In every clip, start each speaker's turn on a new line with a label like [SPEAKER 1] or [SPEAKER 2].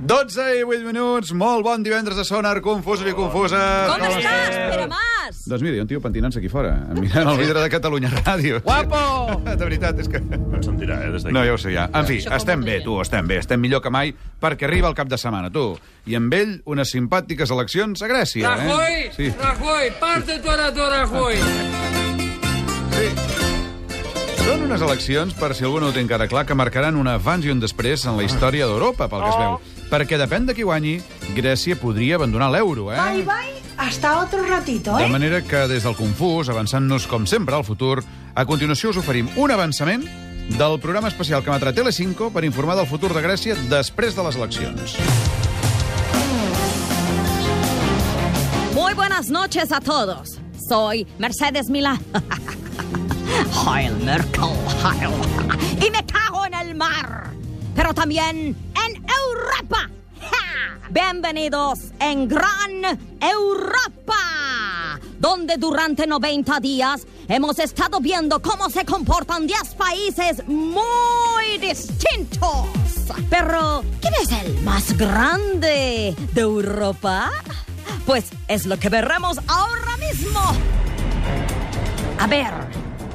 [SPEAKER 1] 12 i 8 minuts. Molt bon divendres a Sonar, confusos i confuses.
[SPEAKER 2] Com estàs, Pere Mas?
[SPEAKER 1] Doncs mira, hi ha un tio pentinant-se aquí fora, eh, mirant el vidre de Catalunya Ràdio.
[SPEAKER 3] Guapo!
[SPEAKER 1] De veritat, és que...
[SPEAKER 4] Em sentirà, eh, des d'aquí.
[SPEAKER 1] No, ja ho sé, ja. En fi,
[SPEAKER 2] Això com
[SPEAKER 1] estem
[SPEAKER 2] ho
[SPEAKER 1] bé,
[SPEAKER 2] tria?
[SPEAKER 1] tu, estem bé, estem millor que mai, perquè arriba el cap de setmana, tu. I amb ell, unes simpàtiques eleccions a Grècia,
[SPEAKER 3] Rajoy,
[SPEAKER 1] eh? Sí,
[SPEAKER 3] Rajoy, parte tu arato, Rajoy.
[SPEAKER 1] sí. Són unes eleccions, per si algú no ho té encara clar, que marcaran un abans i un després en la història d'Europa, pel que es veu. Perquè depèn de qui guanyi, Grècia podria abandonar l'euro, eh?
[SPEAKER 5] Bye bye, hasta otro ratito,
[SPEAKER 1] De
[SPEAKER 5] ¿eh?
[SPEAKER 1] manera que, des del confús, avançant-nos com sempre al futur, a continuació us oferim un avançament del programa especial que emetrà Telecinco per informar del futur de Grècia després de les eleccions.
[SPEAKER 2] Muy buenas noches a todos. Soy Mercedes Milá. Heil Merkel, Heil. Y me cago en el mar, pero también en Europa. ¡Ja! Bienvenidos en Gran Europa, donde durante 90 días hemos estado viendo cómo se comportan 10 países muy distintos. Pero, ¿quién es el más grande de Europa? Pues es lo que veremos ahora mismo. A ver,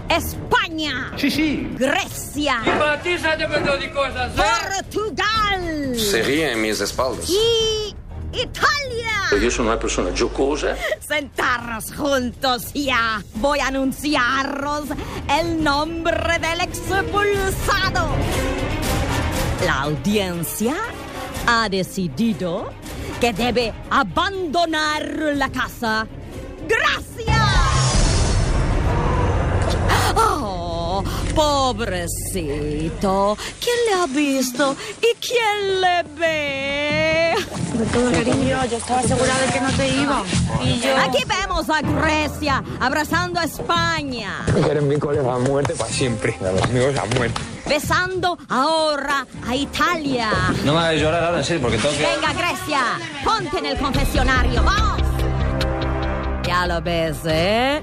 [SPEAKER 2] España,
[SPEAKER 3] Sì, sì.
[SPEAKER 2] Grecia,
[SPEAKER 3] Ma ti sa dipende di cosa,
[SPEAKER 2] eh?
[SPEAKER 3] sai?
[SPEAKER 2] Portugal
[SPEAKER 6] Sería en mis espaldas.
[SPEAKER 2] y Italia.
[SPEAKER 7] Io sono una persona giocosa,
[SPEAKER 2] Sentaros juntos ya. Voy a anunciaros el nombre del expulsado. La audiencia ha decidido que debe abandonar la casa. ¡Gracias! Oh, pobrecito. ¿Quién le ha visto y quién le ve? Aquí vemos a Grecia abrazando a España,
[SPEAKER 8] Quieren vínculos a muerte para siempre. Amigos a muerte.
[SPEAKER 2] besando ahora a Italia.
[SPEAKER 6] No me hagas llorar ahora, en serio, porque tengo que...
[SPEAKER 2] Venga, Grecia, ponte en el confesionario, vamos. Ya lo ves, ¿eh?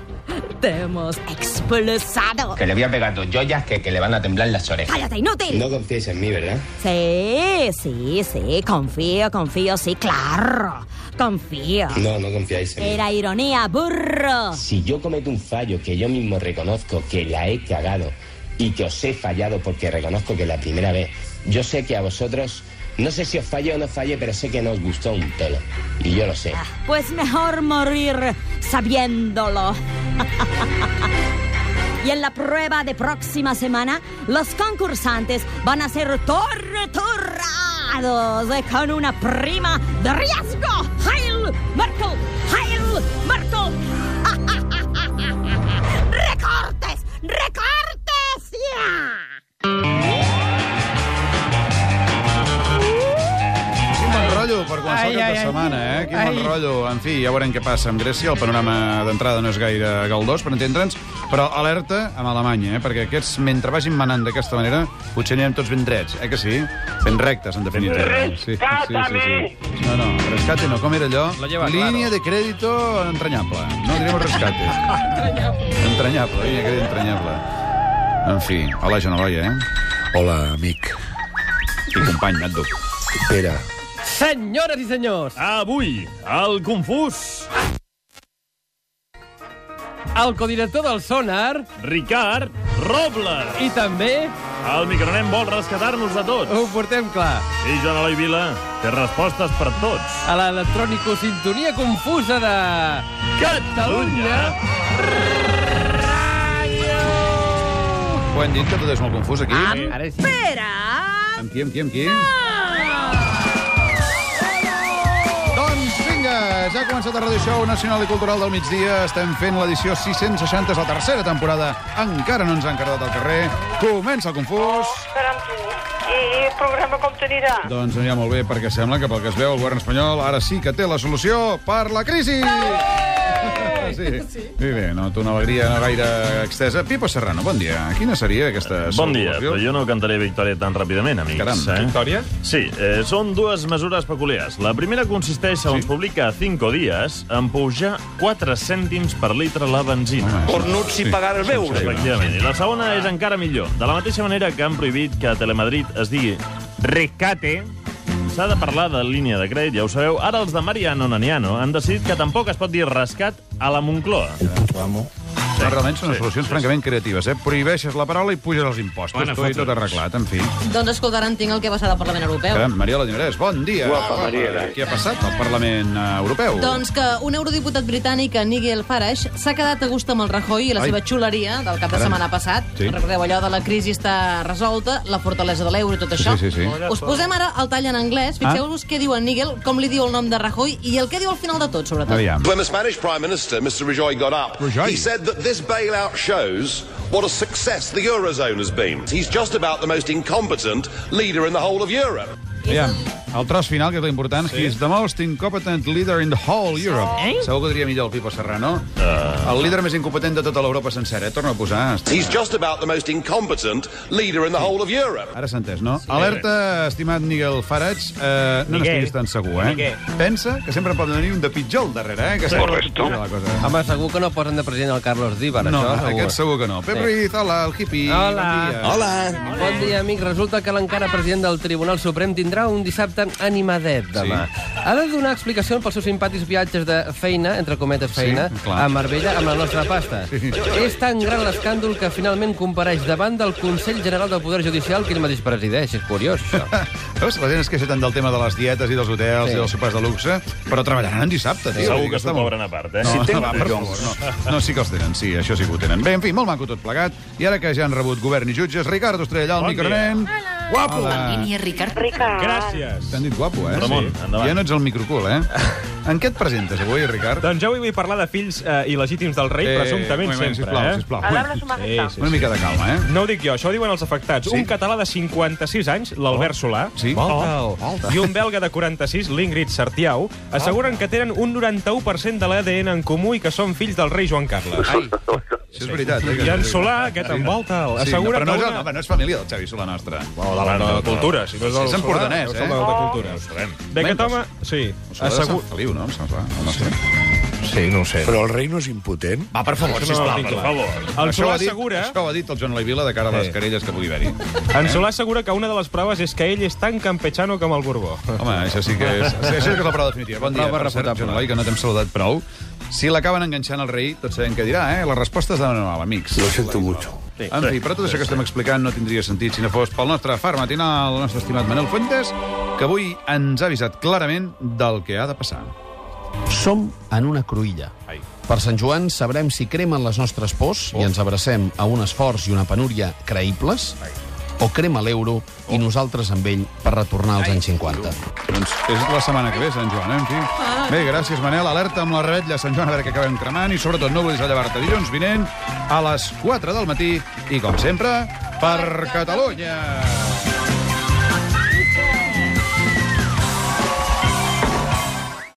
[SPEAKER 2] Te hemos expulsado.
[SPEAKER 9] Que le voy a pegar dos joyas que, que le van a temblar las orejas.
[SPEAKER 2] ¡Cállate, inútil!
[SPEAKER 9] No confíes en mí, ¿verdad?
[SPEAKER 2] Sí, sí, sí, confío, confío, sí, claro. Confío.
[SPEAKER 9] No, no confiáis en mí.
[SPEAKER 2] Era ironía, burro.
[SPEAKER 9] Si yo cometo un fallo que yo mismo reconozco que la he cagado y que os he fallado porque reconozco que la primera vez, yo sé que a vosotros, no sé si os falle o no falle, pero sé que no os gustó un pelo. Y yo lo sé.
[SPEAKER 2] Pues mejor morir sabiéndolo. Y en la prueba de próxima semana, los concursantes van a ser torturados con una prima de riesgo. ¡Heil Merkel! ¡Heil Merkel! ¡Recortes! ¡Recortes! ¡Ya!
[SPEAKER 1] Quin bon rotllo per començar
[SPEAKER 3] Ai,
[SPEAKER 1] el cap
[SPEAKER 3] ai,
[SPEAKER 1] de
[SPEAKER 3] ai.
[SPEAKER 1] setmana, eh? Quin bon
[SPEAKER 3] Ai.
[SPEAKER 1] rotllo. En fi, ja veurem què passa amb Grècia. El panorama d'entrada no és gaire galdós, per entendre'ns, però alerta amb Alemanya, eh? Perquè aquests, mentre vagin manant d'aquesta manera, potser anirem tots ben drets, eh que sí? Ben rectes, en definitiva. Sí, sí, sí, sí. No, no, rescate no. Com era allò?
[SPEAKER 3] Lo lleva
[SPEAKER 1] Línia
[SPEAKER 3] claro.
[SPEAKER 1] de crèdito entranyable. No direm rescate. entranyable, línia de crèdit entranyable. En fi, hola, Genaloia, eh?
[SPEAKER 10] Hola, amic.
[SPEAKER 1] I company, Nando.
[SPEAKER 10] Pere.
[SPEAKER 3] Senyores i senyors,
[SPEAKER 4] Avui, el confús,
[SPEAKER 3] el codirector del Sonar
[SPEAKER 4] Ricard Robles.
[SPEAKER 3] i també
[SPEAKER 4] El micronem vol rescatar-nos de tots.
[SPEAKER 3] ho portem clar.
[SPEAKER 4] I Joan Eloi Vila té respostes per tots.
[SPEAKER 3] A l'electrònico sintonia confusa de...
[SPEAKER 4] Catalunya!
[SPEAKER 1] Ho hem dit que tot és molt confús, aquí.
[SPEAKER 3] Ara sí.
[SPEAKER 2] Espera.
[SPEAKER 1] Amb qui, amb qui, amb qui? Doncs vinga, ja ha començat el Radio Show Nacional i Cultural del migdia. Estem fent l'edició 660, és la tercera temporada. Encara no ens han cardat al carrer. Comença el confús.
[SPEAKER 5] I el programa com t'anirà?
[SPEAKER 1] Doncs anirà molt bé, perquè sembla que pel que es veu el govern espanyol ara sí que té la solució per la crisi. Sí. sí. Bé, no té una alegria no gaire extesa. Pipo Serrano, bon dia. Quina seria aquesta...
[SPEAKER 4] Bon dia,
[SPEAKER 1] solució?
[SPEAKER 4] però jo no cantaré victòria tan ràpidament, amics.
[SPEAKER 1] Caram,
[SPEAKER 4] eh?
[SPEAKER 1] victòria?
[SPEAKER 4] Sí, eh, són dues mesures peculiars. La primera consisteix, segons sí. publica Cinco Dies, en pujar 4 cèntims per litre la benzina.
[SPEAKER 1] Home,
[SPEAKER 7] cornuts i pagar el beure.
[SPEAKER 4] Efectivament. I la segona és encara millor. De la mateixa manera que han prohibit que a Telemadrid es digui rescate,
[SPEAKER 11] S'ha de parlar de línia de crèdit, ja ho sabeu. Ara els de Mariano Naniano han decidit que tampoc es pot dir rescat a la Moncloa.
[SPEAKER 1] No, realment són solucions francament creatives, eh? Prohibeixes la paraula i puges els impostos.
[SPEAKER 11] Bona
[SPEAKER 1] tu i
[SPEAKER 11] foto.
[SPEAKER 1] tot arreglat, en fi.
[SPEAKER 2] Doncs escoltaran, tinc el que passarà al Parlament Europeu.
[SPEAKER 1] Caram, Mariola Dinarès, bon dia.
[SPEAKER 2] Guapa,
[SPEAKER 1] Mariola. Què ha passat al Parlament eh, Europeu?
[SPEAKER 2] Doncs que un eurodiputat britànic, Nigel Farage, s'ha quedat a gust amb el Rajoy i la
[SPEAKER 1] Ai.
[SPEAKER 2] seva xuleria del cap de
[SPEAKER 1] Caram.
[SPEAKER 2] setmana passat.
[SPEAKER 1] Sí.
[SPEAKER 2] Recordeu allò de la crisi està resolta, la fortalesa de l'euro i tot això.
[SPEAKER 1] Sí, sí, sí.
[SPEAKER 2] Us posem ara el tall en anglès.
[SPEAKER 1] Ah.
[SPEAKER 2] Fixeu-vos què diu en Nigel, com li diu el nom de Rajoy i el que diu al final de tot, sobretot.
[SPEAKER 12] When the Spanish Prime Minister, Mr. Rajoy, got up, he said that this bailout shows what a success the Eurozone has been. He's just about the most incompetent leader in the whole of Europe.
[SPEAKER 1] Aviam, el tros final, que és l'important, sí. he's the most incompetent leader in the whole Europe. Eh? Segur que diria millor el Pipo Serrano. Uh... El líder més incompetent de tota l'Europa sencera, eh? Torna a posar.
[SPEAKER 12] He's just about the most incompetent leader in the whole of Europe.
[SPEAKER 1] Ara s'ha entès, no? Sí. Alerta, estimat Nigel Farage, eh, no
[SPEAKER 12] Miguel.
[SPEAKER 1] n'estiguis tan segur, eh?
[SPEAKER 12] Miguel.
[SPEAKER 1] Pensa que sempre pot venir un de pitjor al darrere, eh? Que
[SPEAKER 3] Sí.
[SPEAKER 1] sempre-
[SPEAKER 3] Correcto.
[SPEAKER 1] Mira la cosa.
[SPEAKER 3] Home, segur que no posen de president el Carlos Díbar,
[SPEAKER 1] No,
[SPEAKER 3] això, segur.
[SPEAKER 1] aquest segur que no. Pep Ruiz, hola, el hippie.
[SPEAKER 3] Hola.
[SPEAKER 1] Bon
[SPEAKER 3] Hola. Bon dia, amic. Resulta que l'encara president del Tribunal Suprem tindrà un dissabte animadet demà. Sí. Ha de donar explicacions pels seus simpàtics viatges de feina, entre cometes feina,
[SPEAKER 13] Sí,
[SPEAKER 3] a Marbella amb la nostra pasta. Sí. És tan gran l'escàndol que finalment compareix davant del Consell General del Poder Judicial que ell mateix presideix. És curiós, això.
[SPEAKER 1] Veus, la gent es queixa tant del tema de les dietes i dels hotels sí.
[SPEAKER 3] Sí.
[SPEAKER 1] i dels sopars de luxe, però treballaran en dissabte, tio.
[SPEAKER 11] Segur
[SPEAKER 1] Vull dir
[SPEAKER 11] que s'ho
[SPEAKER 1] està molt-
[SPEAKER 11] cobren a part, eh?
[SPEAKER 1] No,
[SPEAKER 11] Si
[SPEAKER 1] si
[SPEAKER 11] tenen
[SPEAKER 1] va, per
[SPEAKER 11] bidons.
[SPEAKER 1] favor, no. no, sí que els tenen, sí, això sí que ho tenen. Bé, en fi, molt maco tot plegat. I ara que ja han rebut govern i jutges, Ricard Ostrella, el
[SPEAKER 11] Bon
[SPEAKER 1] bon micronen... Guapo!
[SPEAKER 2] Ricard.
[SPEAKER 5] Ricard.
[SPEAKER 4] Gràcies.
[SPEAKER 1] T'han dit guapo, eh?
[SPEAKER 4] Ramon,
[SPEAKER 1] sí.
[SPEAKER 4] endavant.
[SPEAKER 1] Ja no ets el microcul, eh? en què et presentes avui, Ricard?
[SPEAKER 4] Doncs jo avui vull parlar de fills eh, il·legítims del rei,
[SPEAKER 1] Eh,
[SPEAKER 4] eh, presumptament,
[SPEAKER 1] un moment,
[SPEAKER 4] sempre.
[SPEAKER 1] sisplau,
[SPEAKER 4] eh?
[SPEAKER 1] sisplau. Alhora su majestad. Una mica de calma, eh?
[SPEAKER 4] No ho dic jo, això ho diuen els afectats. Sí? Un català de 56 anys, l'Albert Solà,
[SPEAKER 1] Sí.
[SPEAKER 4] oh,
[SPEAKER 1] Volta. Ah.
[SPEAKER 4] i un belga de 46, l'Ingrid Sartiau, asseguren que tenen un 91% de l'ADN en comú i que són fills del rei Joan Carles. Ai.
[SPEAKER 1] Això és Ah, veritat. eh, que-
[SPEAKER 4] I en Solà, aquest en volta, el-
[SPEAKER 1] Sí,
[SPEAKER 4] assegura
[SPEAKER 1] però no,
[SPEAKER 4] que
[SPEAKER 1] és,
[SPEAKER 4] una-
[SPEAKER 1] el- home, no és família del Xavi Solà nostra.
[SPEAKER 4] Bueno, de la- de la cultura, si no és del
[SPEAKER 1] És
[SPEAKER 4] Solà,
[SPEAKER 1] empordanès,
[SPEAKER 4] no
[SPEAKER 1] eh?
[SPEAKER 4] som del de
[SPEAKER 6] Oh.
[SPEAKER 4] cultura. Bé, aquest home... Sí,
[SPEAKER 1] Solà de Sant
[SPEAKER 4] assegur...
[SPEAKER 1] Feliu, no? Em sembla. No sé.
[SPEAKER 4] Sí, no ho sé.
[SPEAKER 6] Però el rei no és impotent?
[SPEAKER 1] Va, per favor,
[SPEAKER 4] No,
[SPEAKER 1] sisplau.
[SPEAKER 4] per
[SPEAKER 1] va.
[SPEAKER 4] favor. El
[SPEAKER 1] Això ho
[SPEAKER 4] Solà
[SPEAKER 1] ha dit-
[SPEAKER 4] assegura-
[SPEAKER 1] Això ho ha dit el Joan Vila de cara a les
[SPEAKER 4] Eh.
[SPEAKER 1] querelles que pugui haver-hi.
[SPEAKER 4] En
[SPEAKER 1] Eh?
[SPEAKER 4] Solà assegura que una de les proves és que ell és tan campechano com el Borbó.
[SPEAKER 1] Home, això sí que és... sí, Això sí que és la prova definitiva. Bon dia,
[SPEAKER 4] Prova
[SPEAKER 1] per cert, Joan Eloi, que no t'hem saludat prou. Si l'acaben enganxant al rei, tots sabem què dirà, eh? La resposta és de manual, amics. Lo siento mucho. En fi, però tot això que estem explicant no tindria sentit si no fos pel nostre far matinal, el nostre estimat Manel Fuentes, que avui ens ha avisat clarament del que ha de passar.
[SPEAKER 9] Som en una cruïlla. Per Sant Joan sabrem si cremen les nostres pors i ens abracem a un esforç i una penúria creïbles o crema l'euro i nosaltres amb ell per retornar als anys 50.
[SPEAKER 1] Doncs és la setmana que ve, Sant Joan, eh? En fi. Bé, gràcies, Manel. Alerta amb la rebetlla, Sant Joan, a veure que acabem cremant. I sobretot no vulguis llevar-te dilluns vinent a les 4 del matí. I, com sempre, per Catalunya!